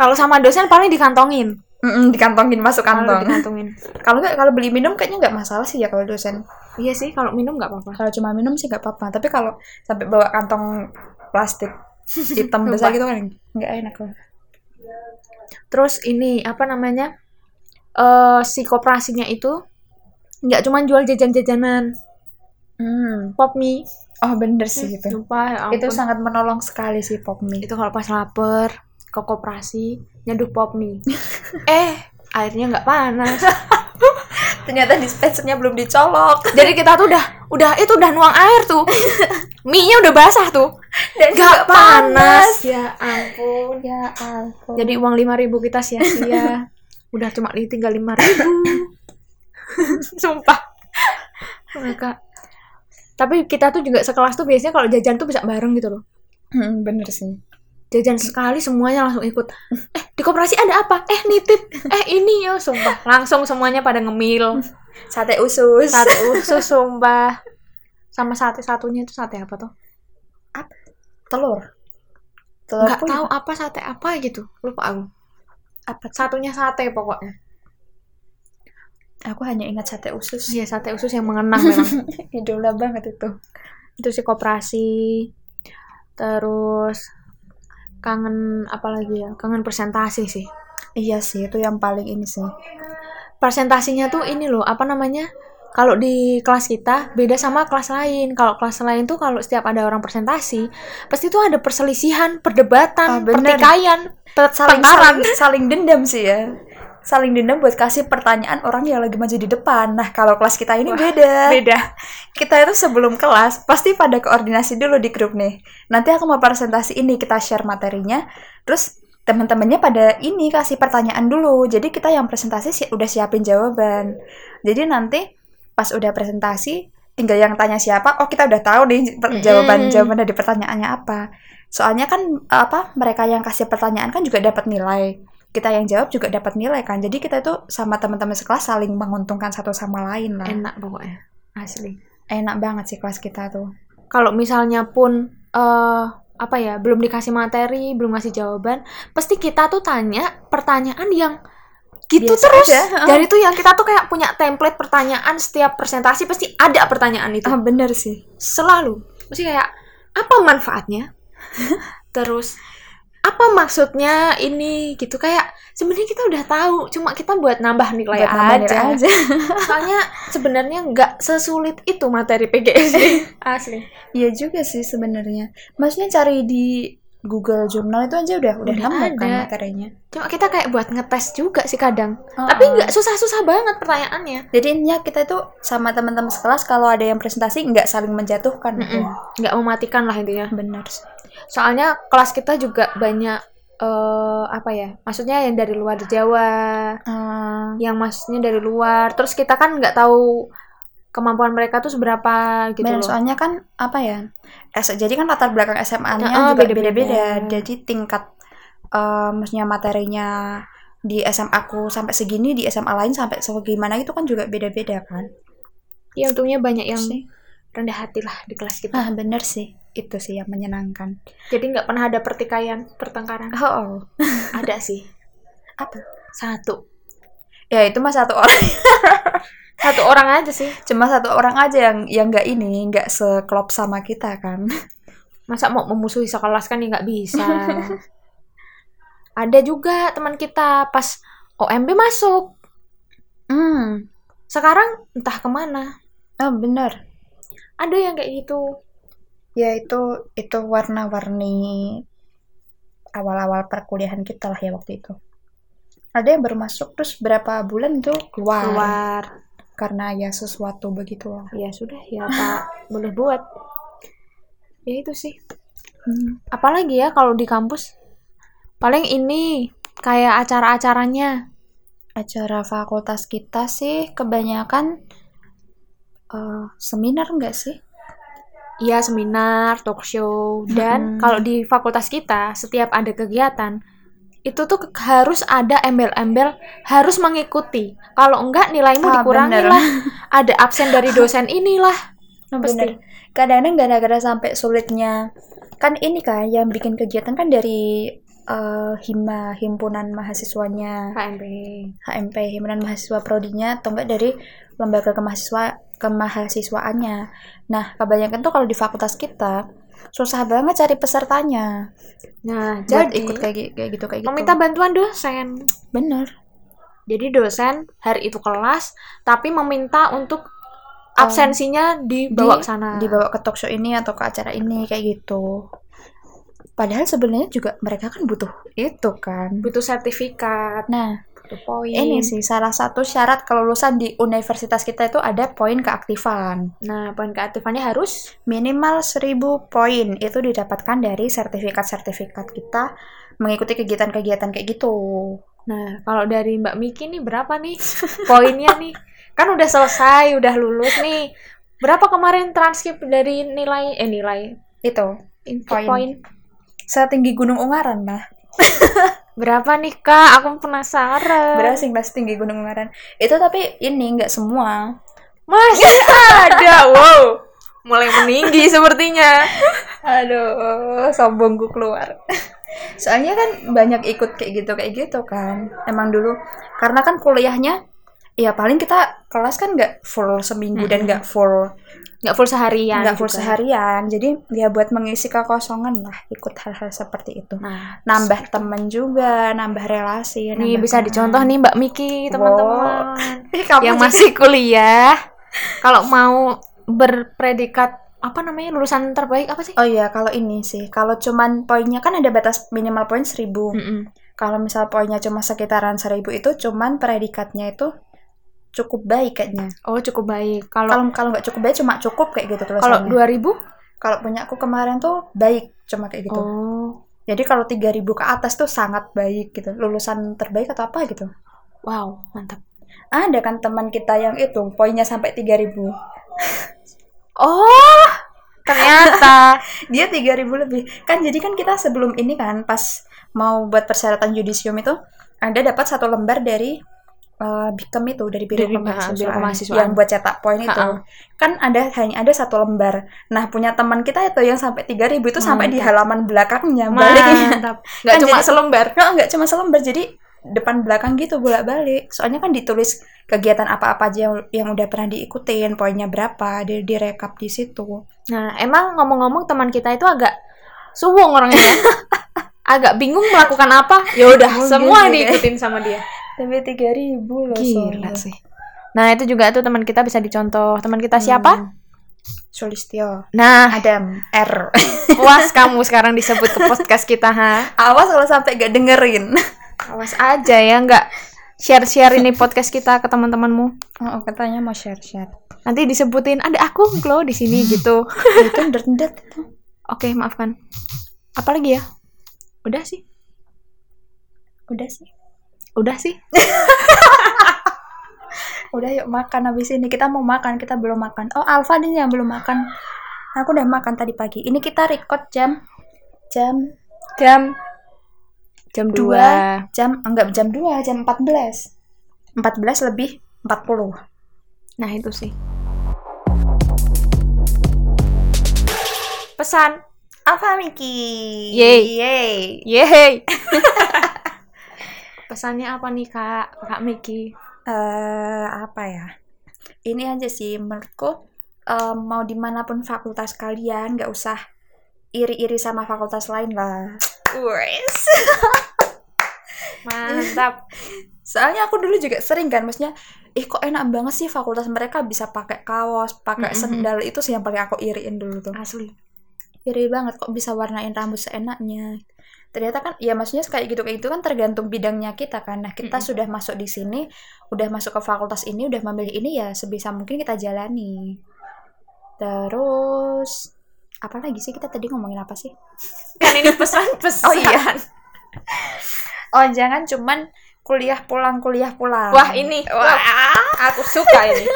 Speaker 1: Kalau sama dosen paling dikantongin.
Speaker 2: Mm-mm, dikantongin masuk
Speaker 1: Paling
Speaker 2: kantong
Speaker 1: dikantongin.
Speaker 2: kalau nggak kalau beli minum kayaknya nggak masalah sih ya kalau dosen
Speaker 1: Iya sih, kalau minum nggak apa-apa.
Speaker 2: kalau cuma minum sih nggak apa-apa tapi kalau sampai bawa kantong plastik hitam besar gitu kan nggak enak loh
Speaker 1: Terus ini apa namanya? Eh si koperasinya itu nggak cuma jual jajan-jajanan
Speaker 2: Hmm.
Speaker 1: pop mie.
Speaker 2: oh bener sih gitu
Speaker 1: Lupa ya ampun.
Speaker 2: itu sangat menolong sekali sih pop mie
Speaker 1: Itu Gitu, kalau pas lapar ke koperasi nyeduh pop mie. eh, airnya nggak panas.
Speaker 2: ternyata dispensernya belum dicolok
Speaker 1: Jadi kita tuh udah udah itu udah nuang air tuh. Mie-nya udah basah tuh. Eh,
Speaker 2: dan
Speaker 1: Nggak
Speaker 2: juga
Speaker 1: panas.
Speaker 2: panas.
Speaker 1: Ya ampun.
Speaker 2: Ya ampun.
Speaker 1: Jadi uang 5000 kita sia-sia. Udah cuma li- tinggal 5000. Sumpah. Mereka tapi kita tuh juga sekelas tuh biasanya kalau jajan tuh bisa bareng gitu loh.
Speaker 2: Hmm, bener sih.
Speaker 1: Jajan sekali semuanya langsung ikut. Eh, di koperasi ada apa? Eh, nitip. Eh, ini ya, sumpah. Langsung semuanya pada ngemil.
Speaker 2: Sate usus.
Speaker 1: Sate usus sumpah. Sama sate satunya itu sate apa tuh?
Speaker 2: telur. Telur
Speaker 1: Nggak
Speaker 2: pun
Speaker 1: tahu apa sate apa gitu. Lupa aku.
Speaker 2: apa?
Speaker 1: Satunya sate pokoknya.
Speaker 2: Aku hanya ingat sate usus.
Speaker 1: Iya, sate usus yang mengenang memang.
Speaker 2: Idola banget itu.
Speaker 1: itu sih koperasi terus kangen apa lagi ya kangen presentasi sih
Speaker 2: Iya sih, itu yang paling ini sih.
Speaker 1: presentasinya tuh ini loh apa namanya kalau di kelas kita beda sama kelas lain kalau kelas lain tuh kalau setiap ada orang presentasi pasti tuh ada perselisihan
Speaker 2: Ah,
Speaker 1: perdebatan
Speaker 2: bener.
Speaker 1: pertikaian pe-
Speaker 2: Saling,
Speaker 1: pertengkaran
Speaker 2: saling saling dendam sih ya. Saling dendam buat kasih pertanyaan orang yang lagi maju di depan. Nah, kalau kelas kita ini
Speaker 1: Wah,
Speaker 2: beda.
Speaker 1: beda
Speaker 2: Kita itu sebelum kelas pasti pada koordinasi dulu di grup nih. Nanti aku mau presentasi ini, kita share materinya. Terus teman-temannya pada ini kasih pertanyaan dulu. Jadi kita yang presentasi si- udah siapin jawaban. Jadi nanti pas udah presentasi tinggal yang tanya siapa, oh kita udah tahu nih per-
Speaker 1: Mm-mm.
Speaker 2: jawaban jawaban dari pertanyaannya apa. Soalnya kan apa mereka yang kasih pertanyaan kan juga dapat nilai. Kita yang jawab juga dapat nilai kan. Jadi kita itu sama teman-teman sekelas saling menguntungkan satu sama lain lah.
Speaker 1: enak pokoknya asli
Speaker 2: Enak banget sih kelas kita tuh.
Speaker 1: kalau misalnya pun eh apa ya belum dikasih materi belum ngasih jawaban pasti kita tuh tanya pertanyaan yang gitu
Speaker 2: Biasa
Speaker 1: terus
Speaker 2: aja, heeh.
Speaker 1: dari tuh yang kita tuh kayak punya template pertanyaan setiap presentasi pasti ada pertanyaan itu
Speaker 2: Ah bener sih.
Speaker 1: selalu mesti kayak apa manfaatnya terus apa maksudnya ini gitu kayak sebenarnya kita udah tahu cuma kita buat nambah nilai
Speaker 2: Buat nambah nilai
Speaker 1: aja.
Speaker 2: aja.
Speaker 1: soalnya sebenarnya nggak sesulit itu materi PGSD asli
Speaker 2: Iya juga sih sebenarnya. Maksudnya cari di Google Journal itu aja udah udah,
Speaker 1: Udah
Speaker 2: nemu kan
Speaker 1: ada.
Speaker 2: materinya.
Speaker 1: Cuma kita kayak buat ngetes juga sih kadang.
Speaker 2: Oh,
Speaker 1: Tapi
Speaker 2: oh.
Speaker 1: nggak susah-susah banget pertanyaannya.
Speaker 2: Jadi intinya kita itu sama teman-teman sekelas kalau ada yang presentasi nggak saling menjatuhkan.
Speaker 1: Mm-mm.
Speaker 2: Bener
Speaker 1: Nggak mematikan lah intinya.
Speaker 2: Benar sih.
Speaker 1: Soalnya kelas kita juga banyak eh apa ya? Maksudnya yang dari luar Jawa,
Speaker 2: Hmm,
Speaker 1: yang maksudnya dari luar. Terus kita kan nggak tahu kemampuan mereka tuh seberapa gitu
Speaker 2: Bener,
Speaker 1: loh.
Speaker 2: soalnya kan apa ya? S jadi kan latar belakang
Speaker 1: Nah,
Speaker 2: SMA-nya
Speaker 1: ah,
Speaker 2: juga
Speaker 1: beda-beda.
Speaker 2: beda-beda. Jadi tingkat eh, maksudnya materinya di SMA aku sampai segini, di SMA lain sampai segimana itu kan juga beda-beda kan.
Speaker 1: Ya untungnya banyak yang
Speaker 2: Sih.
Speaker 1: rendah hati lah di kelas kita.
Speaker 2: Nah, bener sih. Itu sih yang menyenangkan.
Speaker 1: Jadi nggak pernah ada pertikaian, pertengkaran.
Speaker 2: Oh,
Speaker 1: ada sih.
Speaker 2: Apa?
Speaker 1: Satu.
Speaker 2: Ya itu mah satu orang,
Speaker 1: Satu orang aja sih.
Speaker 2: cuma satu orang aja yang yang nggak ini, nggak seklop sama kita kan.
Speaker 1: Masa mau memusuhi sekelas kan ya nggak bisa. ada juga teman kita pas OMB masuk.
Speaker 2: Hmm.
Speaker 1: Sekarang entah kemana.
Speaker 2: Ah, bener.
Speaker 1: Ada yang kayak gitu.
Speaker 2: Ya itu itu warna-warni awal-awal perkuliahan kita lah ya waktu itu. Ada yang baru masuk terus berapa bulan itu keluar,
Speaker 1: Keluar.
Speaker 2: karena ya sesuatu begitu lah.
Speaker 1: Ya sudah ya Pak. Boleh buat. Ya itu sih.
Speaker 2: Hmm.
Speaker 1: apalagi ya kalau di kampus paling ini kayak acara-acaranya
Speaker 2: Acara fakultas kita sih kebanyakan eh, seminar enggak sih?
Speaker 1: ya seminar talk show dan
Speaker 2: Mm-mm.
Speaker 1: kalau di fakultas kita setiap ada kegiatan itu tuh ke- harus ada embel-embel harus mengikuti kalau enggak nilaimu
Speaker 2: Ah,
Speaker 1: dikurangi
Speaker 2: bener.
Speaker 1: lah ada absen dari dosen inilah
Speaker 2: Nah,
Speaker 1: Pasti.
Speaker 2: bener. Kadang-kadang gara-gara sampai sulitnya kan ini kan yang bikin kegiatan kan dari eh, hima himpunan mahasiswanya
Speaker 1: KMP
Speaker 2: HMP himpunan mahasiswa prodinya atau enggak dari lembaga kemahasiswa kemahasiswaannya. Nah, kebanyakan tuh kalau di fakultas kita susah banget cari pesertanya.
Speaker 1: nah jadi
Speaker 2: Buat ikut kayak, gi- kayak gitu kayak gitu.
Speaker 1: meminta bantuan dosen
Speaker 2: bener.
Speaker 1: jadi dosen hari itu kelas tapi meminta untuk
Speaker 2: Oh.
Speaker 1: absensinya dibawa ke sana
Speaker 2: Dibawa ke talk show ini atau ke acara ini kayak gitu. Padahal sebenarnya juga mereka kan butuh itu kan.
Speaker 1: butuh sertifikat,
Speaker 2: Nah,
Speaker 1: butuh poin.
Speaker 2: ini sih salah satu syarat kelulusan di universitas kita itu ada poin keaktifan.
Speaker 1: Nah, poin keaktifannya harus
Speaker 2: Minimal 1000 poin itu didapatkan dari sertifikat-sertifikat kita mengikuti kegiatan-kegiatan kayak gitu.
Speaker 1: Nah, kalau dari Mbak Miki nih berapa nih poinnya nih? Kan udah selesai, udah lulus nih. Berapa kemarin transkrip dari nilai eh nilai
Speaker 2: Itu
Speaker 1: input
Speaker 2: Poin.
Speaker 1: poin.
Speaker 2: setinggi Gunung Ungaran lah.
Speaker 1: Berapa nih, Kak? Aku penasaran.
Speaker 2: Berapa sih kelas tinggi Gunung Ungaran? Itu tapi ini nggak semua.
Speaker 1: Masih Iya, ada. Wow. Mulai meninggi sepertinya.
Speaker 2: Aduh, sombongku keluar. Soalnya kan banyak ikut kayak gitu kayak gitu kan. Emang dulu karena kan kuliahnya ya paling kita kelas kan nggak full seminggu dan nggak full
Speaker 1: Nggak full seharian.
Speaker 2: nggak full
Speaker 1: Ya, juga.
Speaker 2: seharian jadi ya buat mengisi kekosongan lah ikut hal-hal seperti itu
Speaker 1: Nah,
Speaker 2: nambah temen juga nambah relasi
Speaker 1: nih
Speaker 2: nambah
Speaker 1: bisa
Speaker 2: teman.
Speaker 1: dicontoh nih Mbak Miki, teman-teman.
Speaker 2: Eh, kamu
Speaker 1: yang
Speaker 2: juga.
Speaker 1: masih kuliah kalau mau berpredikat apa namanya lulusan terbaik apa sih?
Speaker 2: oh iya kalau ini sih kalau cuman poinnya kan ada batas minimal poin 1000
Speaker 1: Mm-mm.
Speaker 2: kalau misal poinnya cuma sekitaran 1000 itu cuman predikatnya itu cukup baik kayaknya
Speaker 1: Oh cukup baik. Kalau ya.
Speaker 2: kalau kalau nggak cukup baik cuma cukup kayak gitu
Speaker 1: kalau 2000
Speaker 2: tulisannya kalau punya aku kemarin tuh baik cuma kayak gitu
Speaker 1: oh
Speaker 2: jadi kalau 3000 ke atas tuh sangat baik gitu lulusan terbaik atau apa gitu
Speaker 1: wow mantap.
Speaker 2: ada kan teman kita yang itu poinnya sampai 3000
Speaker 1: Oh ternyata
Speaker 2: dia 3000 lebih kan jadi kan kita sebelum ini kan pas mau buat persyaratan judisium itu anda dapat satu lembar dari eh, Bikem itu dari Biro
Speaker 1: Dari, ah, Biro Kemahasiswaan.
Speaker 2: Kemahasiswaan yang buat cetak poin itu
Speaker 1: Ha-ha.
Speaker 2: kan ada hanya ada satu lembar nah punya teman kita itu yang sampai 3000 itu sampai di halaman belakangnya baliknya
Speaker 1: mantap. Nggak
Speaker 2: Kan
Speaker 1: cuma
Speaker 2: jadi-
Speaker 1: selembar.
Speaker 2: Nah, nggak cuma selembar, jadi depan belakang gitu bolak-balik. Soalnya kan ditulis kegiatan apa-apa aja yang, yang udah pernah diikutin, poinnya berapa, di direkap di situ.
Speaker 1: Nah emang ngomong-ngomong teman kita itu agak suwung orangnya. kan? agak bingung melakukan apa ya udah
Speaker 2: Mungkin
Speaker 1: semua
Speaker 2: juga.
Speaker 1: diikutin sama dia
Speaker 2: Sampai 3000 loh.
Speaker 1: gila sih nah itu juga tuh teman kita bisa dicontoh teman kita
Speaker 2: Hmm.
Speaker 1: siapa
Speaker 2: Sulistio.
Speaker 1: nah
Speaker 2: Adam R.
Speaker 1: Puas kamu sekarang disebut ke podcast kita, ha?
Speaker 2: Awas kalau sampai gak dengerin.
Speaker 1: Awas aja ya, nggak share-share ini podcast kita ke teman-temanmu.
Speaker 2: Oh, katanya mau share-share.
Speaker 1: Nanti disebutin ada aku loh di sini gitu.
Speaker 2: itu ndet-ndet itu.
Speaker 1: Oke, maafkan. Apalagi ya? Udah sih.
Speaker 2: Udah sih.
Speaker 1: Udah sih.
Speaker 2: udah yuk makan habis ini kita mau makan kita belum makan oh Alfa nih yang belum makan aku udah makan tadi pagi ini kita record jam jam
Speaker 1: Jam jam 2.
Speaker 2: Dua. jam enggak jam 2 jam 14 14 lebih 40
Speaker 1: Nah, itu sih. Pesan.
Speaker 2: Alfa Miki
Speaker 1: Yeay.
Speaker 2: Yeay.
Speaker 1: Yeay. Pesannya apa nih, Kak? Kak Miki.
Speaker 2: eh apa ya ini aja sih menurutku eh, mau dimanapun fakultas kalian nggak usah iri-iri sama fakultas lain lah Wes.
Speaker 1: Mantap.
Speaker 2: soalnya aku dulu juga sering kan maksudnya ih kok enak banget sih fakultas mereka bisa pakai kaos pakai
Speaker 1: Mm-mm.
Speaker 2: sendal itu sih yang paling aku iriin dulu tuh
Speaker 1: Asli.
Speaker 2: iri banget kok bisa warnain rambut seenaknya ternyata kan ya maksudnya kayak gitu kayak gitu kan tergantung bidangnya kita kan nah kita
Speaker 1: Mm-mm.
Speaker 2: sudah masuk di sini udah masuk ke fakultas ini udah memilih ini ya sebisa mungkin kita jalani terus apa lagi sih kita tadi ngomongin apa sih
Speaker 1: Kan ini pesan-pesan.
Speaker 2: Oh iya. oh jangan cuman kuliah pulang kuliah pulang
Speaker 1: Wah, ini. Wah, aku suka ini.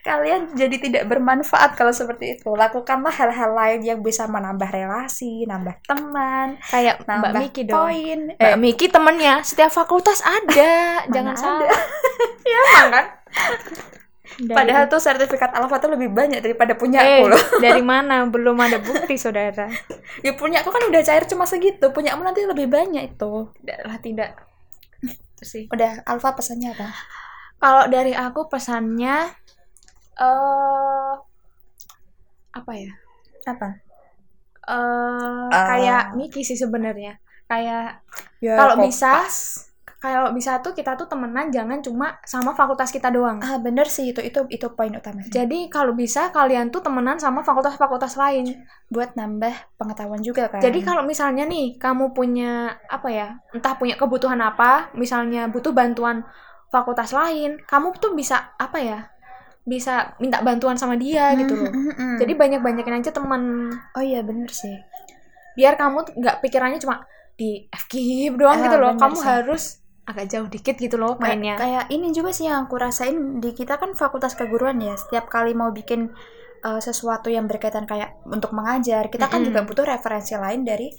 Speaker 2: kalian jadi tidak bermanfaat kalau seperti itu lakukanlah hal-hal lain yang bisa menambah relasi nambah teman
Speaker 1: Kayak Mbak
Speaker 2: nambah
Speaker 1: Miki dong.
Speaker 2: poin
Speaker 1: Mbak
Speaker 2: Eh,
Speaker 1: Miki temennya setiap fakultas ada,
Speaker 2: Mana
Speaker 1: jangan
Speaker 2: ada.
Speaker 1: salah. ya, emang kan?
Speaker 2: Padahal tuh sertifikat Alfa tuh lebih banyak daripada
Speaker 1: Eh,
Speaker 2: punya Ya, aku loh.
Speaker 1: dari mana? Belum ada bukti, Saudara.
Speaker 2: Ya punya aku kan udah cair cuma segitu. Punyamu nanti lebih banyak itu.
Speaker 1: Tidaklah tidak. Itu sih.
Speaker 2: Udah, Alfa pesannya apa?
Speaker 1: Kalau dari aku pesannya eh apa ya?
Speaker 2: Apa?
Speaker 1: eh
Speaker 2: Ah.
Speaker 1: kayak Miki sih sebenarnya. Kayak
Speaker 2: Ya,
Speaker 1: kalau
Speaker 2: kok-
Speaker 1: bisa kalau bisa tuh kita tuh temenan jangan cuma sama fakultas kita doang.
Speaker 2: Ah, bener sih itu itu itu poin utama.
Speaker 1: Jadi kalau bisa kalian tuh temenan sama fakultas-fakultas lain.
Speaker 2: buat nambah pengetahuan juga kan.
Speaker 1: Jadi kalau misalnya nih kamu punya apa ya, entah punya kebutuhan apa, misalnya butuh bantuan fakultas lain, kamu tuh bisa apa ya? Bisa minta bantuan sama dia
Speaker 2: Hmm,
Speaker 1: gitu loh. Jadi
Speaker 2: Jadi
Speaker 1: banyak-banyakin aja teman.
Speaker 2: oh iya bener sih.
Speaker 1: Biar kamu tuh nggak pikirannya cuma di FKIP doang
Speaker 2: Ah,
Speaker 1: gitu loh.
Speaker 2: bener
Speaker 1: Kamu
Speaker 2: sih.
Speaker 1: harus agak jauh dikit gitu loh
Speaker 2: Kayak-
Speaker 1: mainnya.
Speaker 2: Kayak ini juga sih yang aku rasain di kita kan fakultas keguruan ya. Setiap kali mau bikin uh, sesuatu yang berkaitan kayak untuk mengajar, kita kan
Speaker 1: Mm-mm.
Speaker 2: juga butuh referensi lain dari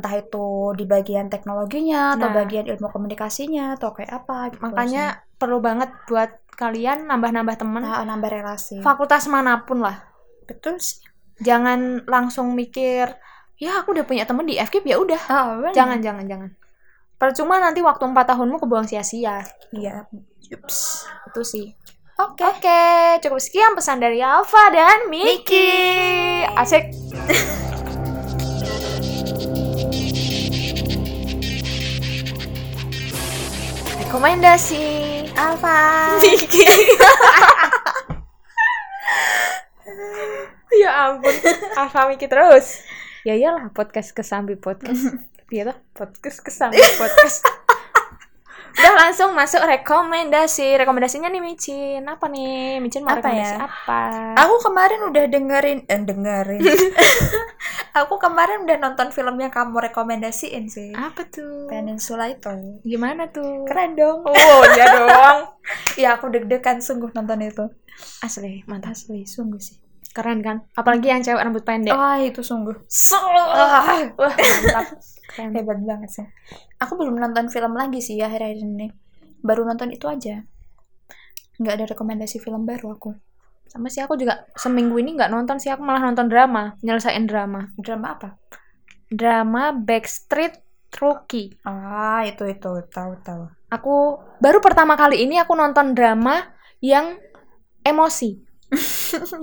Speaker 2: entah itu di bagian teknologinya atau
Speaker 1: Nah.
Speaker 2: bagian ilmu komunikasinya atau kayak apa. gitu
Speaker 1: Makanya perlu banget buat kalian nambah-nambah teman.
Speaker 2: sih. Ah, nambah relasi.
Speaker 1: Fakultas manapun lah.
Speaker 2: Betul sih.
Speaker 1: Jangan langsung mikir, ya aku udah punya temen di FKIP ya udah.
Speaker 2: Ah, benar.
Speaker 1: Jangan, jangan, jangan. Percuma nanti waktu 4 tahunmu kebuang sia-sia.
Speaker 2: Iya. Yups.
Speaker 1: Itu sih.
Speaker 2: Oke.
Speaker 1: Oke, cukup sekian pesan dari Alfa dan Miki. Asik. Rekomendasi
Speaker 2: Alfa.
Speaker 1: Miki. ya ampun, Alfa Miki terus. Ya iyalah podcast kesambi podcast. Iya lah, podcast kesambi podcast. Udah langsung masuk rekomendasi. Rekomendasinya nih Micin. Apa nih? Micin mau
Speaker 2: Apa ya?
Speaker 1: rekomendasi apa?
Speaker 2: Aku kemarin udah dengerin, eh, dengerin. aku kemarin udah nonton film yang kamu rekomendasiin sih.
Speaker 1: Apa tuh?
Speaker 2: Peninsula itu.
Speaker 1: Gimana tuh?
Speaker 2: Keren dong.
Speaker 1: Oh, iya dong.
Speaker 2: Ya aku deg-degan sungguh nonton itu.
Speaker 1: Asli, mantap.
Speaker 2: Asli sungguh sih.
Speaker 1: Keren kan? Apalagi yang cewek rambut pendek.
Speaker 2: Wah itu sungguh.
Speaker 1: So.
Speaker 2: Ah.
Speaker 1: Wah, mantap. Keren.
Speaker 2: Hebat banget sih. Aku belum nonton film lagi sih ya, akhir-akhir ini. Baru nonton itu aja. Nggak ada rekomendasi film baru aku.
Speaker 1: Sama sih aku juga seminggu ini nggak nonton sih, aku malah nonton drama, nyelesain drama.
Speaker 2: Drama apa?
Speaker 1: Drama Backstreet Rookie.
Speaker 2: Ah itu itu tahu tahu.
Speaker 1: Aku baru pertama kali ini aku nonton drama yang emosi.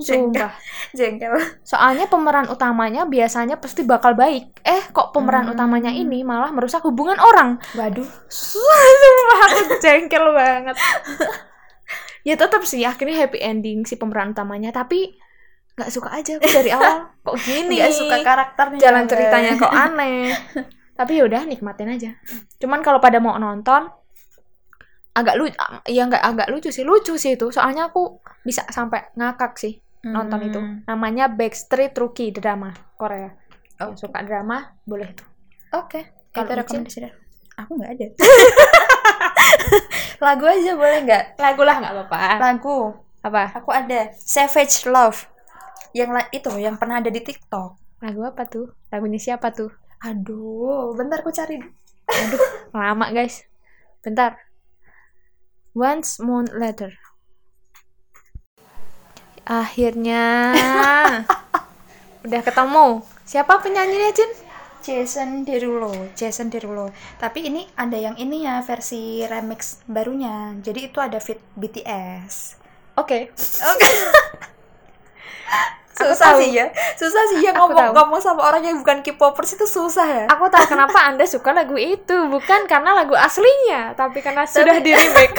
Speaker 2: Jengkel.
Speaker 1: Sumpah.
Speaker 2: Jengkel.
Speaker 1: Soalnya pemeran utamanya biasanya pasti bakal baik. Eh, kok pemeran
Speaker 2: Hmm.
Speaker 1: utamanya ini malah merusak hubungan orang.
Speaker 2: Waduh.
Speaker 1: Sumpah, aku jengkel banget. ya tetap sih akhirnya happy ending si pemeran utamanya, tapi nggak suka aja aku dari awal. Kok gini?
Speaker 2: Nggak suka karakternya.
Speaker 1: jalan ceritanya kok aneh tapi yaudah nikmatin aja cuman kalau pada mau nonton agak lucu ya nggak agak lucu sih lucu sih itu soalnya aku bisa sampai ngakak sih nonton itu
Speaker 2: Hmm,
Speaker 1: namanya Backstreet Rookie drama Korea Yang
Speaker 2: Oke.
Speaker 1: suka drama boleh tuh
Speaker 2: Oke.
Speaker 1: Kalau Ucin?
Speaker 2: Itu rekomendasi dari- Aku nggak ada. lagu aja boleh nggak
Speaker 1: lagu lah nggak apa-apa
Speaker 2: lagu
Speaker 1: apa
Speaker 2: aku ada Savage Love yang la- itu yang pernah ada di TikTok
Speaker 1: lagu apa tuh lagunya siapa tuh
Speaker 2: aduh bentar aku cari
Speaker 1: lama guys bentar once more later akhirnya udah ketemu siapa penyanyinya Jin
Speaker 2: Jason Derulo Jason Derulo tapi ini ada yang ini ya versi remix barunya jadi itu ada fit BTS
Speaker 1: oke
Speaker 2: susah
Speaker 1: tahu.
Speaker 2: sih ya susah sih ya
Speaker 1: Aku
Speaker 2: ngomong
Speaker 1: tahu.
Speaker 2: ngomong sama orang yang bukan K-popers itu susah ya
Speaker 1: aku tahu kenapa anda suka lagu itu bukan karena lagu aslinya tapi karena sudah di remake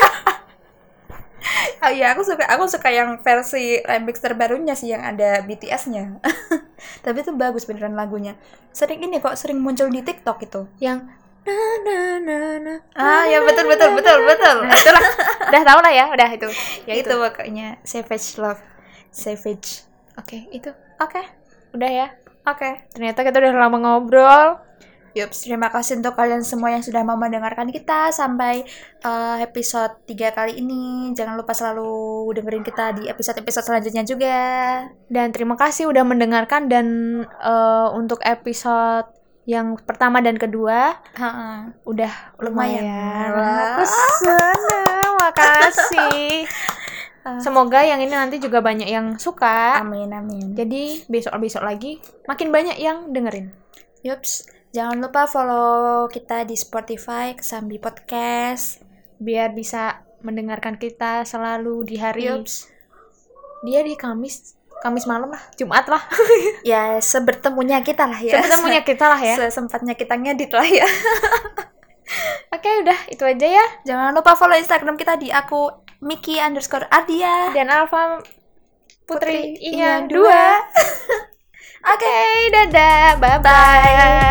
Speaker 2: Oh iya, aku suka aku suka yang versi remix terbarunya sih yang ada BTS-nya. Tapi itu bagus beneran lagunya. Sering ini kok sering muncul di TikTok itu.
Speaker 1: yang na na na na
Speaker 2: Ah, ya betul betul betul betul.
Speaker 1: nah, itulah udah tau lah ya udah itu ya
Speaker 2: ya itu pokoknya Savage Love. Savage.
Speaker 1: oke itu
Speaker 2: Oke.
Speaker 1: udah ya
Speaker 2: Oke.
Speaker 1: ternyata kita udah lama ngobrol
Speaker 2: Yups, terima kasih untuk kalian semua yang sudah mau mendengarkan kita sampai eh, episode 3 kali ini. Jangan lupa selalu dengerin kita di episode-episode selanjutnya juga.
Speaker 1: Dan terima kasih udah mendengarkan dan eh, untuk episode yang pertama dan kedua
Speaker 2: Heeh.
Speaker 1: udah
Speaker 2: Lumayan.
Speaker 1: lumayan.
Speaker 2: Wah.
Speaker 1: Pesona, makasih. Semoga yang ini nanti juga banyak yang suka.
Speaker 2: Amin amin.
Speaker 1: Jadi besok-besok lagi makin banyak yang dengerin.
Speaker 2: Yups, jangan lupa follow kita di Spotify Kesambi Podcast.
Speaker 1: Biar bisa mendengarkan kita selalu di hari
Speaker 2: Yups.
Speaker 1: dia di Kamis, Kamis malam lah, Jumat lah.
Speaker 2: Ya, sebertemunya kita lah ya.
Speaker 1: Ketemunya kita lah ya.
Speaker 2: Sesempatnya kita ngedit lah ya.
Speaker 1: Oke, udah itu aja ya.
Speaker 2: Jangan lupa follow Instagram kita di aku Miki underscore Adia.
Speaker 1: Dan Alfa Putri, Inya
Speaker 2: Inya
Speaker 1: dua.
Speaker 2: Oke.
Speaker 1: Oke, dadah. Bye-bye.